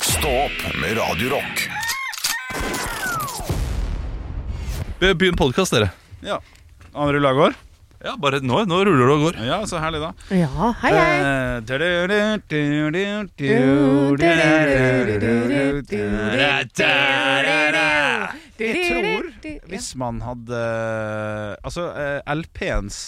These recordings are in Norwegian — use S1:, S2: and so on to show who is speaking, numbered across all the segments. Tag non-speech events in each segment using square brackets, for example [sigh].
S1: Stå opp med Radio Rock.
S2: Begynn podkast, dere.
S3: Ja. Andre lagår?
S2: Ja, bare nå, nå ruller det og går.
S3: Ja, så herlig, da.
S4: Ja, hei, hei.
S3: Eh, Jeg tror hvis man hadde Altså, eh, LP-ens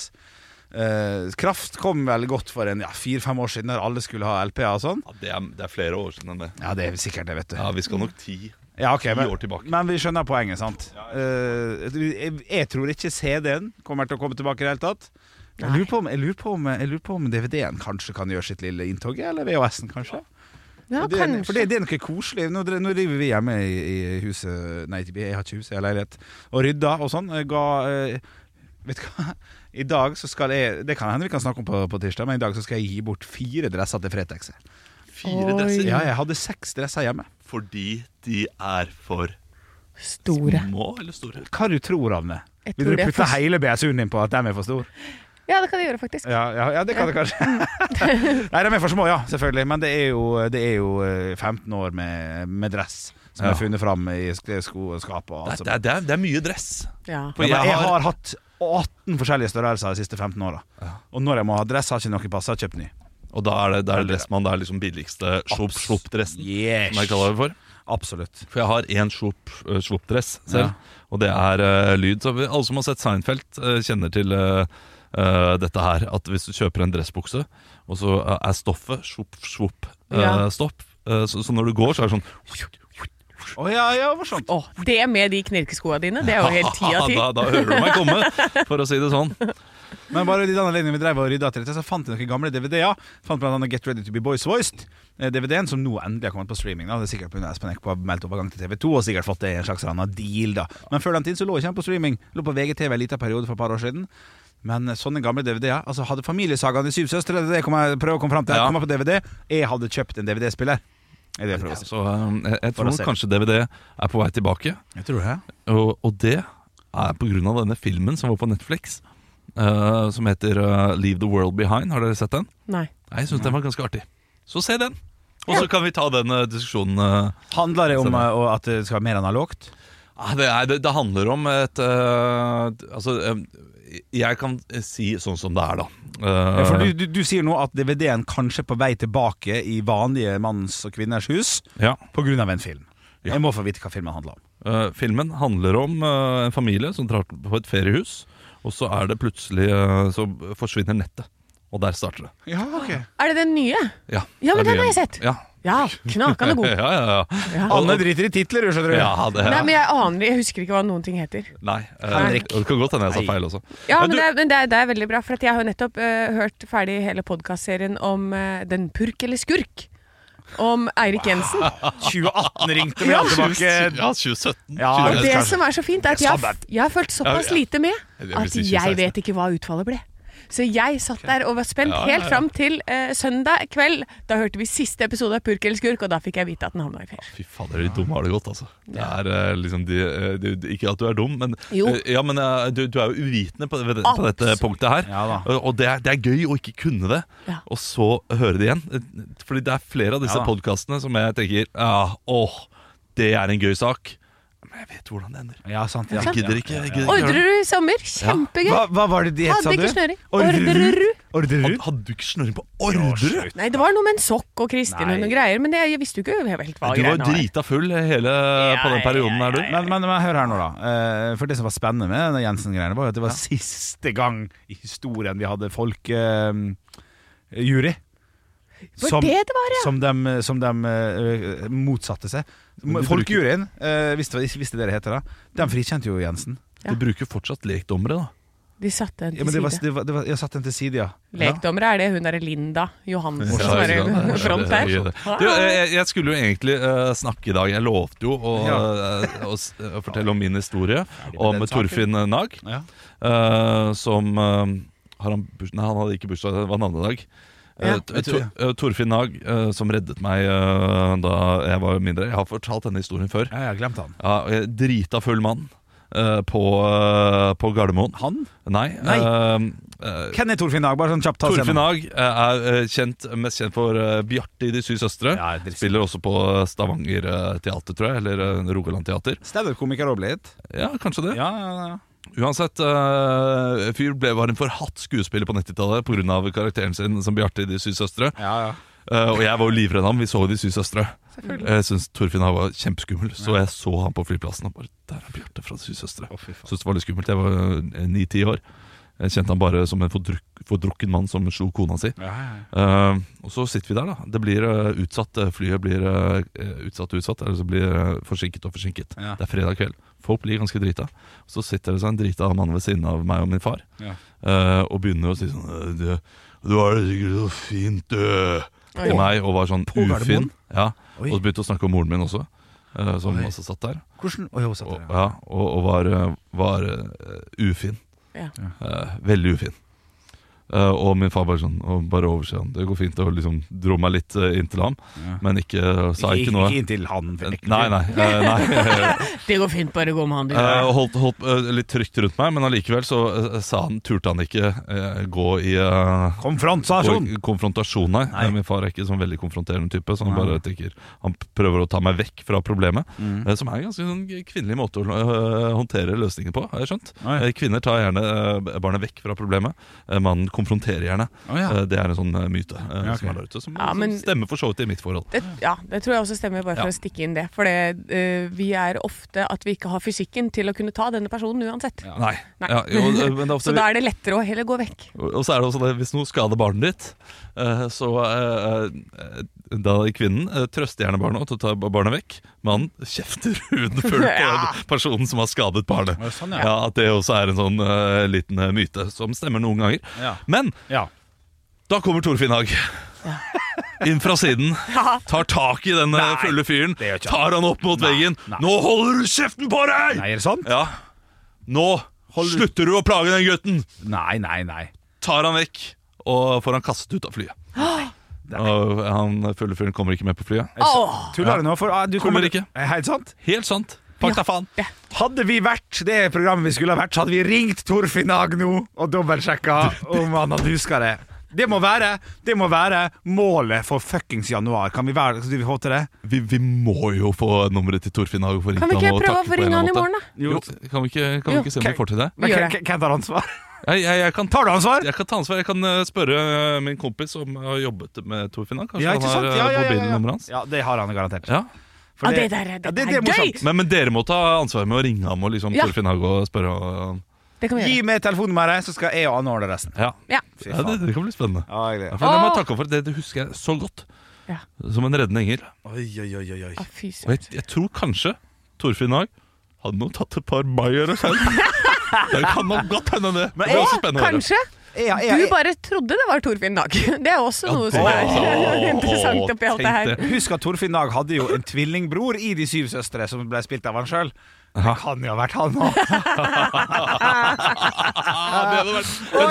S3: eh, kraft kom vel godt for en ja, fire-fem år siden, der alle skulle ha LP-er og sånn.
S2: det, er, det er flere år siden enn det.
S3: Ja, det er sikkert det, vet du.
S2: Ja, Vi skal nok ti.
S3: Ja, ok,
S2: Ti
S3: men,
S2: år tilbake.
S3: men vi skjønner poenget, sant? Eh, jeg, jeg tror ikke CD-en kommer til å komme tilbake i det hele tatt. Jeg
S4: Nei.
S3: lurer på om, jeg lurer på om, jeg lurer på om DVD-en kanskje kan gjøre sitt lille inntog, eller VHS-en kanskje.
S4: Ja,
S3: For det, er- for det,
S4: kanskje.
S3: det er noe koselig. Nå, dre- nå driver vi hjemme i, i huset Nei, jeg har ikke hus, jeg har leilighet. Og rydda og sånn. Jeg Ga eh, Vet du hva? I dag så skal jeg Det kan hende vi kan snakke om på, på tirsdag, men i dag så skal jeg gi bort fire dresser til Fretex.
S2: Fire
S4: Oi.
S2: dresser.
S3: Ja, jeg hadde seks dresser hjemme.
S2: Fordi de er for
S4: Store.
S2: små eller store.
S3: Hva du tror av meg?
S4: Jeg
S3: Vil
S4: tror
S3: du
S4: det er
S3: putte
S4: for-
S3: hele BSU-en din på at de er for store?
S4: Ja, det kan jeg gjøre, faktisk.
S3: Ja, ja, ja det kan det kanskje. [laughs] Nei, de er for små, ja, selvfølgelig. Men det er jo, det er jo eh, 15 år med, med dress som
S2: Ja.
S3: er funnet fram i sk- sko og skap. Og alt
S2: Det, er- det, er, det er mye dress.
S4: Ja.
S2: For
S3: ja, men
S2: jeg
S3: jeg
S2: har
S3: har hatt 18 forskjellige størrelser de siste 15 åra. Og når jeg må ha dress, har ikke noe passet, kjøpt ny.
S2: Og da er det, da er det dressmann. Det er liksom billigste slopp-slopp-dressen. Som jeg kaller det for.
S3: Absolutt.
S2: For jeg har én slopp-dress selv, og det er eh, lyd. Så vi- alle som har sett Seinfeld, eh, kjenner til eh, eh, dette her. At hvis du kjøper en dressbukse, og så eh, er stoffet slopp-slopp-stopp,
S4: Ja.
S2: eh, så, så når du går, så er det sånn
S3: Å ja, ja, morsomt.
S4: Åh, det med de knirkeskoa dine, det er jo
S2: [laughs]
S4: helt ti av ti.
S2: da, da hører du meg komme, for å si det sånn.
S3: Men bare i den anledningen vi drev og rydda til dette, så fant jeg noen gamle DVD-er. Fant blant annet Get Ready To Be Boys Voiced. eh, DVD-en som nå endelig har kommet på streaming. Da. Det er sikkert pga. Espen Eckbo har meldt overgang til TV2 og sikkert fått det i en slags eller annen deal, da. Men før den tid så lå ikke den på streaming. Lå på VGTV en liten periode for et par år siden. Men eh, sånne gamle DVD-er Altså Hadde Familiesagaen i Syv søstre Det er det jeg kommer- prøver å komme fram til.
S2: Ja.
S3: Kommer på DVD. Jeg hadde kjøpt en DVD-spiller. Er det jeg prøver å si.
S2: Så eh, jeg, jeg
S3: For å
S2: tror
S3: se.
S2: kanskje DVD er på vei tilbake,
S3: Jeg tror det.
S2: og, og det er på grunn av denne filmen som var på Netflix, eh, som heter eh, Leave the World Behind. Har dere sett den?
S4: Nei.
S2: Nei, Jeg syns den var ganske artig. Så se den. Og så kan vi ta den eh, diskusjonen. eh.
S3: Handler det om
S2: Stemmer.
S3: eh, og at det skal være mer analogt?
S2: Ah, det, er, det, det handler om et eh, Altså, eh, jeg kan si sånn som det er, da. Eh,
S3: Ja, for du, du, du sier nå at DVD-en kanskje er på vei tilbake i vanlige manns og kvinners hus
S2: ja.
S3: pga. en film.
S2: Ja.
S3: Jeg må få vite hva filmen handler om.
S2: Eh, filmen handler om eh, en familie som drar på et feriehus, og så er det plutselig eh, Så forsvinner nettet. Og der starter det.
S3: Ja, ok
S4: Er det den nye?
S2: Ja,
S4: Ja, men
S2: det er
S4: den har
S2: mye-
S4: jeg sett.
S2: Ja,
S4: Ja, knakende
S2: [laughs]
S4: god.
S2: ja, ja. ja.
S4: Ja.
S3: Anne driter i titler, skjønner du. [laughs]
S2: ja det,
S4: Nei, men jeg aner Jeg husker ikke hva noen ting heter.
S2: Nei. eh,
S3: Henrik.
S2: Det kan godt hende jeg sa
S3: Nei.
S2: feil også. Men
S4: Ja, men,
S2: du-
S4: det, er- men det, er, det er veldig bra, for at jeg har jo nettopp eh, hørt ferdig hele podkastserien om eh, Den purk eller skurk. Om Eirik Jensen.
S3: 2018 ringte vi ja. tilbake.
S2: Ja, 2017.
S3: Ja,
S4: Og
S2: 2018.
S4: det
S3: kanskje.
S4: som er så fint, er at jeg, har- jeg har følt såpass
S2: Ja, ja.
S4: lite med
S2: Jeg vil
S4: at
S2: si
S4: jeg
S2: 2016.
S4: vet ikke hva utfallet ble. Så jeg satt der og var spent
S2: Ja, ja,
S4: helt
S2: ja.
S4: fram til eh, søndag kveld. Da hørte vi siste episode av Purk eller skurk, og da fikk jeg vite at den havna i fengsel.
S2: Fy fader, de dumme har det godt, altså. Det er eh, liksom de, eh, du- du- Ikke at du er dum, men,
S4: Jo.
S2: eh, ja, men eh, du, du er jo uvitende på, ved- på dette
S4: Absolutt.
S2: punktet her.
S3: Ja da.
S2: Eh, Og det er, det er gøy å ikke kunne det,
S4: Ja.
S2: og så høre det igjen. Eh, Fordi det er flere av disse
S3: Ja da.
S2: podkastene som jeg tenker ah, åh, det er en gøy sak. Men jeg vet hvordan det ender.
S3: Ja, sant. Ja.
S2: Jeg gidder ikke. Jeg gidder ikke høre det.
S4: Ordrerud i sommer, kjempegøy.
S3: Hva, hva var det de het, sa
S4: Hadde
S3: du?
S4: ikke snøring.
S3: Orderud.
S4: Orderud.
S3: Orderud?
S2: Had- Hadde du ikke snøring på ordre?
S4: Nei, det var noe med en sokk og Kristin og
S3: Nei.
S4: noen greier, men jeg, jeg visste jo ikke helt hva
S2: Du var
S4: greiene var.
S2: drita full hele på den perioden her, du.
S3: Men, men, men hør her nå, da. Eh, For det som var spennende med denne Jensen-greiene, var jo at det var siste gang i historien vi hadde folkejury.
S4: Var det det var, ja?
S3: som de, som de eh, motsatte seg.
S2: Men du
S3: Folkejuryen, eh, hvis, det, hvis det dere heter det, de frikjente jo Jensen.
S2: Du bruker fortsatt lekdommere, da.
S4: De satte den
S3: Ja,
S4: til
S3: men det var,
S4: side.
S3: det var, det var, jeg satt den til side, ja.
S4: Lekdommere er det hun derre Linda Johansen som
S2: Ja,
S4: er
S2: ikke sant?
S4: i front
S2: Ja, det
S4: her.
S2: er gøy, det. Du, eh, jeg, jeg skulle jo egentlig eh, snakke i dag. Jeg lovte jo å, eh, å, s- å fortelle om min historie om
S3: den saken.
S2: Torfinn Nag,
S3: Ja.
S2: eh, som eh, har han, burs- Nei, han hadde ikke bursdag, det var en annen dag. Eh,
S4: Ja.
S2: T- Tor- eh, Torfinn Nag, eh, som reddet meg eh, da jeg var mindre. Jeg har fortalt denne historien før.
S3: Ja, jeg har glemt han.
S2: Ja, og jeg- Drita full mann. eh, på, eh, på Gardermoen.
S3: Han?
S2: Nei.
S3: Nei.
S2: eh, eh,
S3: Hvem er Torfinn Dag? Bare sånn kjapt ta oss
S2: Torfinn
S3: gjennom.
S2: Haag eh, er eh, kjent, mest kjent for eh, Bjarte i De syv søstre.
S3: Ja, det er
S2: Spiller også på eh, Stavanger eh, Teater, tror jeg. Eller eh, Rogaland Teater.
S3: Standup-komiker òg blitt.
S2: Ja, kanskje det.
S3: Ja, ja, ja.
S2: Uansett, eh, fyr ble, var en forhatt skuespiller på 90-tallet pga. karakteren sin som Bjarte i De syv søstre.
S3: ja, ja.
S2: Eh, og jeg var jo livredd ham. Vi så jo De syv søstre. Jeg syns Torfinn Haag var kjempeskummel, så jeg så han på flyplassen og bare Der er Bjarte fra De syv søstre.
S3: Å, fy faen.
S2: Syntes det var litt skummelt. Jeg var ni-ti år. Jeg kjente han bare som en fordruk, fordrukken mann som slo kona si.
S3: Ja, ja, ja.
S2: Eh, og så sitter vi der, da. Det blir eh, utsatt. eh, Flyet blir eh, utsatt og utsatt. Eller så blir eh, forsinket og forsinket.
S3: Ja.
S2: Det er fredag kveld. Folk blir ganske drita. Så sitter det seg en drita mann ved siden av meg og min far
S3: Ja.
S2: eh, og begynner å si sånn eh, Du, du har det sikkert så fint, du. Til meg, og var sånn
S3: På Gardermoen?
S2: ufin. Ja.
S3: Oi.
S2: Og begynte å snakke om moren min også, eh, som
S3: Oi.
S2: også satt der.
S3: Hvordan Oi, hun satt
S2: Og,
S3: der, ja.
S2: ja, og, og var, eh, var eh, ufin.
S4: Ja.
S2: Eh, veldig ufin. Eh, og min far bare sånn og bare overser han. Det går fint. Og liksom dro meg litt eh, inn til ham,
S3: Ja.
S2: men ikke, eh, sa ikke, noe.
S3: Ikke inntil han. for det er ikke-
S2: Nei, nei. eh, nei.
S3: [laughs]
S4: Det går fint, bare gå med han du.
S2: Eh, og holdt, holdt eh, litt trygt rundt meg, men allikevel så eh, sa han, turte han ikke eh, gå i eh,
S3: Konfrontasjon!
S2: gå i konfrontasjon, nei.
S3: Nei.
S2: Eh, Min far er ikke sånn veldig konfronterende type, så han
S3: Nei.
S2: bare tenker Han prøver å ta meg vekk fra problemet.
S3: Mm.
S2: Eh, Som er en ganske sånn kvinnelig måte å øh, håndtere løsninger på, har jeg skjønt.
S3: Oi.
S2: Eh, Kvinner tar gjerne øh, barnet vekk fra problemet. Eh, Mannen konfronterer gjerne.
S3: Å, ja.
S2: Eh, Det er en sånn eh, myte eh,
S3: Ja, ok.
S2: som er der ute, som,
S4: Ja,
S2: som
S4: men-
S2: stemmer for så vidt i mitt forhold.
S4: Det, ja, det tror jeg også stemmer, bare for
S2: Ja.
S4: å stikke inn det. For det, eh, vi er ofte at vi ikke har fysikken til å kunne ta denne personen uansett.
S3: Ja.
S2: Nei.
S4: Nei.
S2: Ja, jo, eh, men det
S4: [laughs]
S2: er
S4: Så
S2: ofte,
S4: da er det lettere å heller gå vekk.
S2: og så er det også det, hvis noe skader barnet ditt, eh, så eh, eh, da kvinnen eh, trøster gjerne barnet og tar barnet vekk. Mannen kjefter [laughs]
S4: [laughs]
S2: hudfullt
S4: Ja.
S2: på personen som har skadet barnet.
S3: Å, Sånn, ja.
S2: Ja, At det også er en sånn eh, liten eh, myte som stemmer noen ganger.
S3: Ja.
S2: Men
S3: ja.
S2: Da kommer Torfinn Haag. Inn fra
S4: [laughs]
S2: siden,
S4: Ja.
S2: tar tak i denne
S3: Nei,
S2: fulle fyren,
S3: det gjør ikke han.
S2: tar han opp mot
S3: Nei,
S2: veggen.
S3: nei.
S2: 'Nå holder du kjeften på deg!'
S3: Nei, er det sant?
S2: Ja. Nå
S3: Hold-
S2: slutter du å plage den gutten!
S3: Nei, nei, nei.
S2: Tar han vekk, og får han kastet ut av flyet.
S3: Nei.
S2: Og han fulle fyren kommer ikke med på flyet.
S4: Åh!
S3: Tuller du nå? For, ah, du kommer
S2: Kommer ikke.
S3: Eh, Helt sant?
S2: Helt sant.
S4: Ja.
S2: Fakta faen.
S3: Hadde vi vært det programmet vi skulle ha vært, så hadde vi ringt Torfinn Haag nå og dobbeltsjekka om han hadde huska det. Det må være det må være målet for fuckings januar. Kan vi, være, kan vi få til det?
S2: Vi, vi må jo få nummeret til Torfinn Haag. og få ringt
S4: Kan vi
S2: han
S4: ikke
S2: og
S4: prøve å
S2: takke
S4: få
S2: på en eller
S4: ringe han i
S2: annen
S4: morgen,
S2: måte?
S4: da?
S2: Jo, kan vi ikke, kan vi
S4: Jo.
S2: ikke se om vi
S3: Ok.
S2: får til det?
S3: Men
S4: Vi
S3: hvem
S4: gjør det.
S3: hvem tar ansvar?
S2: Jeg, jeg, jeg kan ta
S3: Tar du ansvar?
S2: Jeg kan ta ansvar. Jeg kan eh, spørre eh, min kompis som har jobbet med Torfinn. da. Kanskje
S3: Ja, ikke
S2: han har
S3: sant?
S2: eh,
S3: Ja, ja, ja, ja.
S2: mobilnummeret hans.
S3: Ja, det har han garantert.
S2: Ja.
S3: For
S4: Ja, det der er-
S3: ja,
S4: det er
S3: morsomt.
S2: Men, men dere må ta ansvar med å ringe ham og liksom
S4: Ja.
S2: Torfinn Haag og spørre. og-
S4: Det kan vi
S3: Gi
S4: gjøre.
S3: meg telefonnummeret, så skal jeg og Anne ordne resten.
S2: Ja,
S4: Ja.
S3: Fy
S2: ja det,
S3: faen.
S2: det kan bli spennende.
S3: Ja, jeg
S2: Ja,
S3: gleder meg.
S2: for det, må jeg
S4: Åh!
S2: takke ham for. det, det husker jeg så godt.
S4: Ja.
S2: Som en reddende engel.
S3: Oi, oi, oi, oi, oi.
S4: Å, fy
S2: Og jeg,
S4: søren.
S2: jeg tror kanskje Torfinn Haag hadde nå tatt et par bayere selv. [laughs] det kan nok godt hende, det. Det blir også spennende å høre.
S4: Kanskje.
S3: Jeg- jeg-
S4: Du
S3: jeg-
S4: bare trodde det var Torfinn Dag. [laughs] Det er også noe som
S2: det-
S4: er
S2: Åh,
S4: [laughs] interessant oppi alt
S2: tenk
S4: det her.
S2: det.
S3: Husk at Torfinn Dag hadde jo en tvillingbror i De syv søstre, som ble spilt av han sjøl. Det kan jo ha vært han òg.
S2: Ah, det hadde vært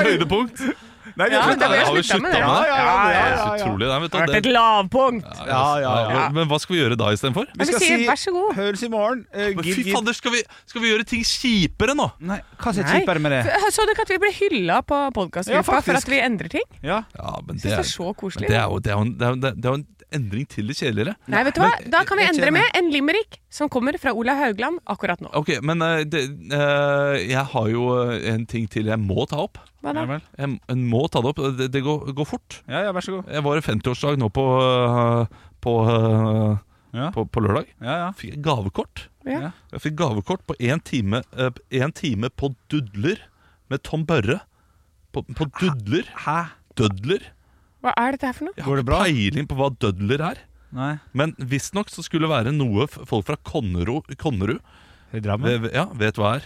S2: et høydepunkt.
S4: Ja,
S2: Slutt,
S4: det ble
S2: har vi
S4: slutta med
S2: sluttet med det?
S4: det.
S3: Ja, ja, ja, ja, ja,
S2: Det
S3: ja.
S2: er så utrolig. Nei, vet du,
S4: Det har vært
S2: det-
S4: et lavpunkt.
S3: Ja, ja, ja.
S2: Men hva skal vi gjøre da istedenfor?
S4: Men vi sier vær så god.
S3: Høres i morgen. Eh,
S2: Men
S3: gid,
S2: Fy
S3: gid.
S2: fader, skal vi, skal vi gjøre ting kjipere nå?
S3: Nei, hva er
S4: Nei.
S3: kjipere med det?
S4: F- Så dere ikke at vi ble hylla på podkastgruppa
S3: Ja,
S4: for
S3: faktisk.
S4: at vi endrer ting?
S3: Ja.
S2: Ja, men
S4: Syns det er så
S2: men
S4: koselig.
S2: det er jo, det er jo, en, det er jo, det er jo en endring til det kjedeligere.
S4: Nei, vet du hva?
S2: Men-
S4: Da kan vi
S3: jeg
S4: endre
S3: kjenner-
S4: med en limerick som kommer fra Ola Haugland akkurat nå.
S2: Ok, men eh, det, eh, jeg har jo eh, en ting til jeg må ta opp.
S4: Hva da?
S3: Ja, vel.
S2: Jeg, m- jeg må ta det opp. Det, det går, går fort.
S3: ja, ja, vær så god.
S2: Jeg var i 50-årsdag nå på, eh, på, eh,
S3: Ja.
S2: på, på lørdag.
S3: Ja, ja.
S2: Fikk jeg gavekort.
S4: Ja.
S2: Jeg fikk gavekort på én time, eh, en time på Dudler med Tom Børre. På, på Dudler.
S3: Hæ?
S2: Dødler.
S4: Hva er dette her for noe?
S2: Jeg
S3: Går
S2: har
S3: det
S2: ikke
S3: bra?
S2: peiling på hva dødler er.
S3: Nei.
S2: Men visstnok så skulle det være noe f- folk fra Konnerud, Konnerud
S3: I Drammen?
S2: ve- ve- ja, vet hva er.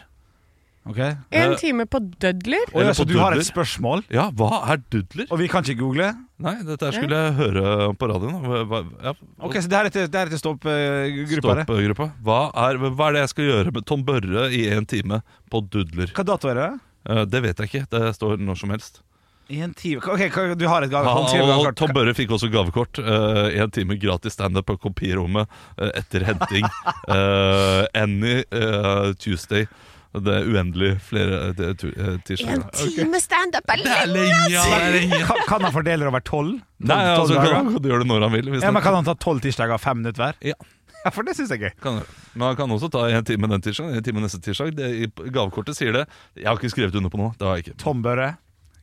S3: Ok. Å,
S4: En
S2: Eh,
S4: time på dødler?
S2: Eller
S3: ja,
S2: på
S3: så du har et
S2: Dudler.
S3: spørsmål,
S2: Ja, hva er dudler?
S3: og vi kan ikke google?
S2: Nei, dette her skulle jeg høre på radioen. Hva- hva- Ja,
S3: Ok, Så det her er til, det her er eh, til stopp-gruppa? det.
S2: Stopp-gruppa. Hva, er- hva er det jeg skal gjøre med Tom Børre i en time på dudler?
S3: Hva dato er det?
S2: Eh, Det vet jeg ikke. Det står når som helst.
S3: I en time Ok, hva- du har et gave. Han skriver
S2: Og
S3: gavekort.
S2: Tom Børre fikk også gavekort. eh, En time gratis standup på
S3: [laughs]
S2: kopirommet eh, etter henting. Eh, Any eh, Tuesday. Det er uendelig flere eh, det- tu- eh,
S4: En
S2: tirsdager.
S4: time standup er lenge!
S3: Kan, kan han fordele over tolv?
S2: Nei,
S3: Tolv- tolv
S2: altså,
S3: dager?
S2: kan, kan du gjøre det når han vil. Hvis
S3: Ja,
S2: han,
S3: men Kan han ta tolv tirsdager, fem minutter hver?
S2: Ja.
S3: Ja, For det syns jeg er gøy.
S2: kan, men han kan også ta en time den tirsdagen, en time neste tirsdag. Det, I gavekortet sier det. Jeg har ikke skrevet under på noe. Det har jeg ikke.
S3: Tom Børre.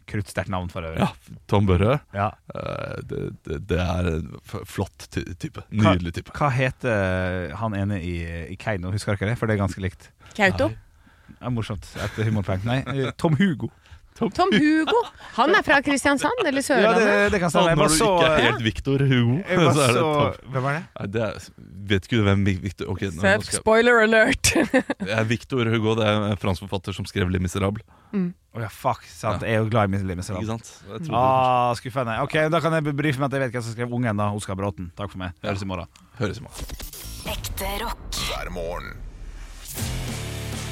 S3: Kruttsterkt navn for øvrig.
S2: Ja, Tom Børre.
S3: Ja.
S2: eh, Det, det, det er en f- flott ty- type. Nydelig type.
S3: Hva heter eh, han ene i, i Keiino, husker dere det? For det er ganske likt.
S4: Kautokeino.
S3: Altså, Det er morsomt. Et humorpoeng. Nei, eh, Tom Hugo.
S4: Tom Hugo. Han er fra Kristiansand
S3: Ja,
S4: eller
S3: det,
S4: Sørlandet.
S3: det kan
S2: Så
S3: stemme.
S2: Altså, når
S3: Jeg bare
S2: du
S3: så, eh,
S2: ikke er helt Victor Hugo,
S3: jeg
S2: [laughs]
S3: bare
S2: så er det
S3: så
S2: Tom.
S3: Hvem var det?
S2: Nei, det er, vet ikke du hvem Vic- Victor Ok, nå, nå
S4: Sepp,
S2: skal,
S4: Spoiler alert! [laughs]
S2: jeg- det er Victor Hugo det er en fransk forfatter som skrev 'Les Miserables'.
S3: Å ja, fuck. Sant. Jeg er jo glad i Miss Limes.
S2: Ikke sant? Jeg trodde-
S3: Ah, skuffende. Ok, Da kan jeg bebrife med at jeg vet hvem som skrev ungen. da Oskar Bråten. Takk for meg. Høres i morgen.
S2: Høres i morgen.
S5: Ekte rock.
S1: hver morgen.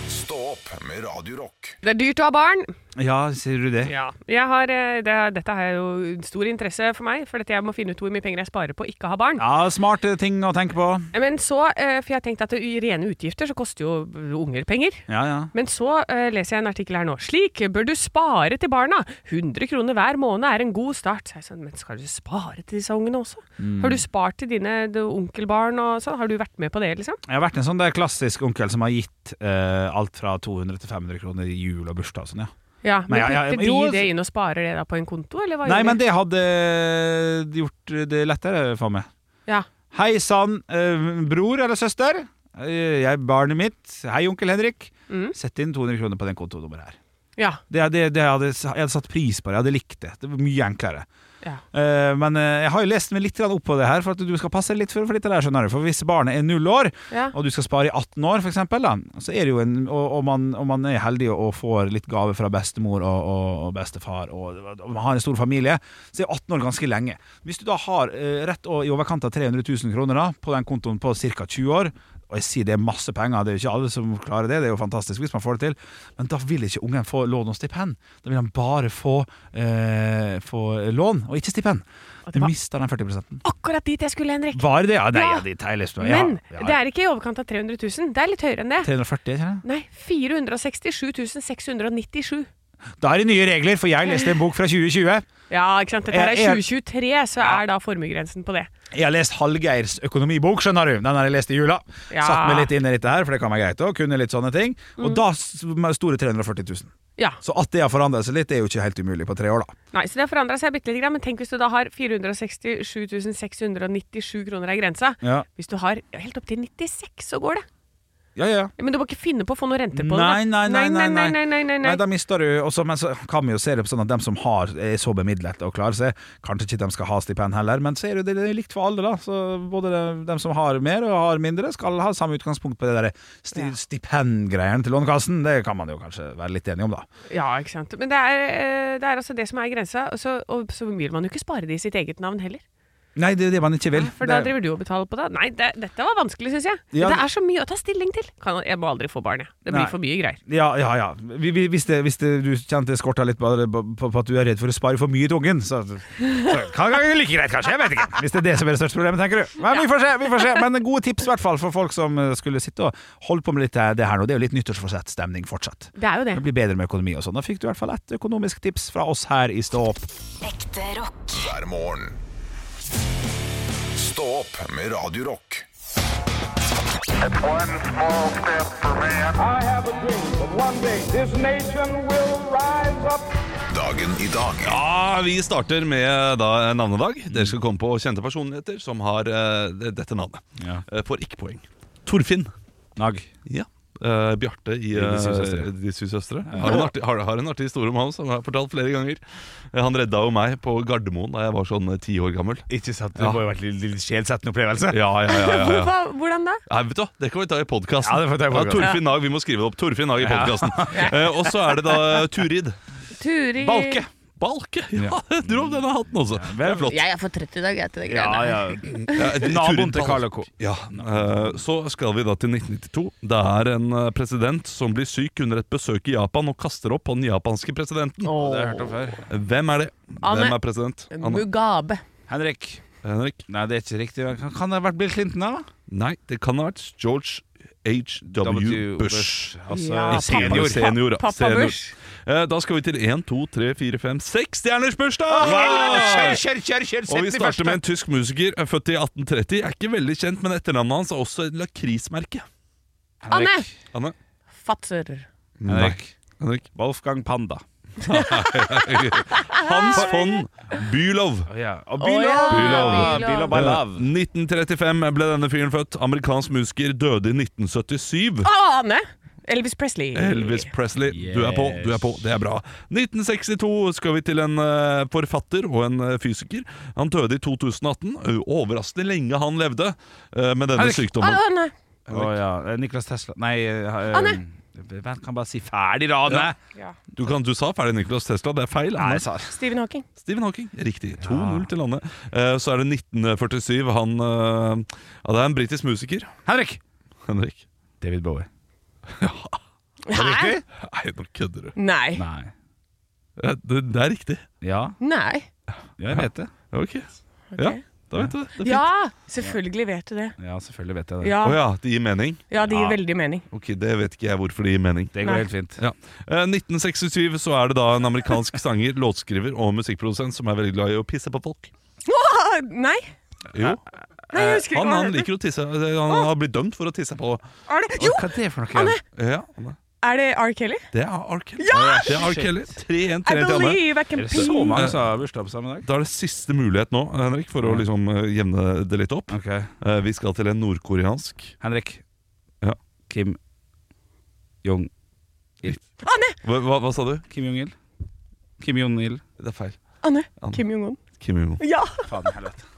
S1: Stå opp med Radio Rock.
S4: Det er dyrt å ha barn.
S3: Ja, sier du det?
S4: Ja. Jeg har, eh, det, dette er jo stor interesse for meg, for dette jeg må finne ut hvor mye penger jeg sparer på å ikke ha barn.
S3: Ja, Smarte ting å tenke på.
S4: Men så, eh, for jeg har tenkt at i rene utgifter så koster jo unger penger.
S3: Ja, ja.
S4: Men så eh, leser jeg en artikkel her nå. Slik bør du spare til barna. 100 kroner hver måned er en god start. Så jeg sånn, men skal du spare til disse ungene også?
S2: Mm.
S4: Har du
S3: Mm.
S4: spart til dine d- onkelbarn og sånn? Har du vært med på det, liksom?
S3: Jeg har vært en sånn der klassisk onkel som har gitt eh, alt fra 200 til 500 kroner i jul og bursdag og sånn, ja.
S4: Ja, men
S3: Nei, ja, ja,
S4: putter
S3: men jo,
S4: de det inn og sparer det da på en konto, eller hva
S3: Nei,
S4: gjør
S3: men
S4: de?
S3: det hadde eh, gjort det lettere for meg.
S4: Ja.
S3: Hei sann, eh, bror eller søster. Eh, Jeg er barnet mitt. Hei, onkel Henrik.
S4: Mm.
S3: Sett inn 200 kroner på den kontonummeret her.
S4: Ja,
S3: Det, det, det hadde, jeg hadde satt pris på det. Jeg hadde likt det. Det var Mye enklere.
S4: ja.
S3: Eh, men eh, jeg har jo lest meg litt grann opp på det her, for at du skal passe litt for, for dette der, skjønner du. For hvis barnet er null år,
S4: ja.
S3: og du skal spare i 18 år, for eksempel, da, så er det jo en, og, og, man, og man er heldig og får litt gave fra bestemor og, og, og bestefar, og, og man har en stor familie, så er 18 år ganske lenge. Hvis du da har eh, rett og, i overkant av 300 000 kroner da, på den kontoen på ca. 20 år, og jeg sier det er masse penger, det er jo ikke alle som klarer det, det er jo fantastisk hvis man får det til, men da vil ikke ungen få lån og stipend. Da vil han bare få, eh, få lån, og ikke stipend.
S4: Og
S3: Du
S4: det var
S3: mister den 40 prosenten.
S4: akkurat dit jeg skulle, Henrik.
S3: Var det det? Ja, nei,
S4: Ja.
S3: ja, de tar jeg lyst på. Ja,
S4: Men
S3: ja,
S4: det er ikke i overkant av 300 000. Det er litt høyere enn det.
S3: 340, ikke det?
S4: Nei, 467 697.
S3: Da er det nye regler, for jeg leste en bok fra 2020.
S4: Ja, ikke sant. Dette her
S3: Jeg-
S4: er 2023, så er da formuegrensen på det.
S3: Jeg har lest Hallgeirs økonomibok, skjønner du. Den har jeg lest i jula.
S4: Ja. Mm.
S3: Satt meg litt inn i dette her, for det kan være greit å kunne litt sånne ting. Og da s- store 340 000.
S4: Ja.
S3: Så at det har forandret seg litt, det er jo ikke helt umulig på tre år, da.
S4: Nei, så det har forandra seg bitte lite grann, men tenk hvis du da har 467 697 kroner er grensa.
S3: Ja,
S4: Hvis du har ja, helt opp til 96, så går det.
S3: ja, ja.
S4: Ja, Men du må ikke finne på å få noe rente på
S3: Nei,
S4: det.
S3: nei, nei,
S4: nei, nei,
S3: nei,
S4: nei, nei, nei,
S3: Nei,
S4: nei.
S3: da mister du også, Men så kan vi jo se det på sånn at dem som har, er så bemidlet og klarer seg, kanskje ikke dem skal ha stipend heller, men så er det jo det er likt for alle, da. Så både de- dem som har mer og har mindre, skal ha samme utgangspunkt på det derre sti,
S4: Ja.
S3: stipendgreiene til Lånekassen. Det kan man jo kanskje være litt enig om, da.
S4: Ja, ikke sant. Men det er, eh, det er altså det som er grensa, og så, og så vil man jo ikke spare det i sitt eget navn heller.
S3: Nei, det er jo det man ikke vil.
S4: Nei, For da
S3: det,
S4: driver du og betaler på det. Nei, det, dette var vanskelig, syns jeg.
S3: Ja.
S4: Det er så mye å ta stilling til. Kan, jeg må aldri få barn, jeg. Det blir
S3: Nei.
S4: for mye greier.
S3: ja, ja, ja. Vi- vi- Hvis, det, hvis det, du kjente skorta litt på, på, på at du er redd for å spare for mye i tungen, så, så kan det være like greit, kanskje. Jeg vet ikke. Hvis det er det som er det største problemet, tenker du. Men vi får se. vi får se Men gode tips, i hvert fall, for folk som eh, skulle sitte og holde på med litt eh, det her nå. Det er jo litt nyttårsforsett-stemning fortsatt.
S4: Det er jo det.
S3: Det blir bedre med økonomi og sånn. Da fikk du i hvert fall et økonomisk tips fra oss her i Stå opp.
S5: Ekte rock.
S1: hver morgen. Stå opp med Radio Rock.
S6: One small step for man.
S7: I have a dream that one day this nation will rise up.
S1: Dagen i dag.
S2: Ja, Vi starter med da en navnedag. Dere skal komme på kjente personligheter som har eh, det- dette navnet.
S3: Ja.
S2: Eh, får ikke poeng. Torfinn.
S3: Nag.
S2: Ja. Eh, Bjarte i eh,
S3: De syv søstre.
S2: De syv søstre. Har, en artig, har, har en artig historie om han som jeg har fortalt flere ganger. Eh, han redda jo meg på Gardermoen da jeg var sånn ti år gammel.
S3: Ikke sant?
S2: Ja.
S3: jo vært litt, litt sjelsettende opplevelse.
S2: Ja, ja, ja, ja, ja.
S4: Hva- hvordan da?
S2: Nei, vet du, hva, Det kan vi ta i podkasten.
S3: Ja, det får vi ta i podcasten.
S2: Torfinn Nag, vi må skrive det opp. Torfinn Nag i
S3: [laughs]
S2: podkasten. og så er det da eh, Turid.
S4: Turi
S2: Balke. Balke! Ja, jeg [laughs] dro opp denne hatten også. Det er flott.
S4: Jeg er for trøtt i dag, jeg, til det
S3: [laughs] Ja,
S4: greiene.
S3: ja.
S2: Ja, Turid
S3: Naboen til
S2: Balke.
S3: Karl og Co.
S2: Ja, eh, Så skal vi da til 1992. Det er en eh, president som blir syk under et besøk i Japan og kaster opp på den japanske presidenten.
S4: Åh.
S3: Det har jeg hørt om før.
S2: Hvem er det?
S4: Anne. Eh,
S2: Hvem er president? Anne.
S4: Mugabe.
S3: Henrik.
S2: Henrik?
S3: Nei, det er ikke riktig. Kan, kan det ha vært Bill Clinton, da?
S2: Nei, det kan ha vært George H.W. Bush.
S3: Altså,
S4: Ja,
S3: i senior.
S4: pappa-
S2: Senior, ja.
S4: Pappa
S2: Senior.
S4: Bush.
S2: Eh, Da skal vi til 1, 2, 3, 4, 5, 6 stjerners bursdag!
S3: Kjør, kjør, kjør! kjør
S2: Og
S3: Sett
S2: vi
S3: de
S2: starter
S3: første.
S2: med en tysk musiker eh, født i 1830. Er ikke veldig kjent, men etternavnet hans er også et lakrismerke.
S3: Henrik.
S2: Anne?
S4: Anne! Fatser.
S3: Henrik.
S2: Henrik.
S3: Wolfgang Panda.
S2: Hans von Bülow.
S3: Oh, ja. Og
S4: Å, ja.
S3: Bilov.
S4: Bilov.
S3: Bilov by love.
S2: 1935 ble denne fyren født. Amerikansk musiker døde i 1977.
S4: Å, Anne! Elvis Presley.
S2: Elvis Presley. Du er på, du er på. Det er bra. 1962 skal vi til en eh, forfatter og en eh, fysiker. Han døde i 2018. Ø- Overraskende lenge han levde eh, med denne
S3: Henrik.
S4: Å,
S2: sykdommen.
S4: Anne!
S3: Å ja. eh, Niklas Tesla Nei eh,
S4: Anne.
S3: eh, Vent, kan bare si ferdig, da, Anne.
S4: Ja.
S2: Du, kan, du sa ferdig Nicholas Tesla, det er feil.
S3: Nei,
S2: Anne.
S3: jeg sa
S4: Stephen Hawking.
S2: Stephen Hawking, riktig. 2-0 til landet. Eh, Så er det 1947. Han eh, Ja, det er en britisk musiker.
S3: Henrik.
S2: Henrik.
S3: David Bowie.
S4: Hæ?
S2: Nei, nå kødder du.
S4: Nei.
S3: Nei.
S2: Eh, Det, det er riktig.
S3: Ja,
S4: Nei.
S3: jeg vet det.
S2: Ok. Ja, da vet du det. det. er fint.
S4: Ja! Selvfølgelig vet du det.
S3: Ja, selvfølgelig vet jeg det.
S4: Ja,
S2: Å ja, det gir mening?
S4: ja det gir
S3: Ja.
S4: veldig mening.
S2: Ok, det vet ikke jeg hvorfor det gir mening.
S3: Det
S4: Nei.
S3: går helt fint.
S2: Ja. Eh, 1967 så er det da en amerikansk sanger, [laughs] låtskriver og musikkprodusent som er veldig glad i å pisse på folk.
S4: Åh, nei!
S2: Jo,
S4: Nei, jeg husker
S2: Eh,
S4: ikke
S2: Han,
S4: hva
S2: han
S4: det
S2: liker å tisse. eh, Han har blitt dømt for å tisse på
S4: heter. Er det? Jo!
S3: Hva er det for noe?
S2: Ja, han er-
S4: Er det R. Kelly?
S2: Det er R. Kelly.
S4: Ja,
S2: Det er R. Kelly. 3-1
S4: I
S2: til Anne.
S4: believe I
S3: Er
S4: can
S3: det
S4: pee.
S3: så mange som har bursdag på samme dag?
S2: Da er det siste mulighet nå, Henrik, for å liksom eh, jevne det litt opp.
S3: Ok,
S2: Eh, Vi skal til en nordkoreansk.
S3: Henrik.
S2: Ja.
S3: Kim Jong
S2: Hva, hva, hva sa du?
S3: Kim Jong-il? Kim Jong-il.
S2: Det er feil.
S4: Anne.
S2: Anne.
S4: Kim Jong-un.
S2: Kim Jong-un.
S4: Ja!
S3: Faen i helvete.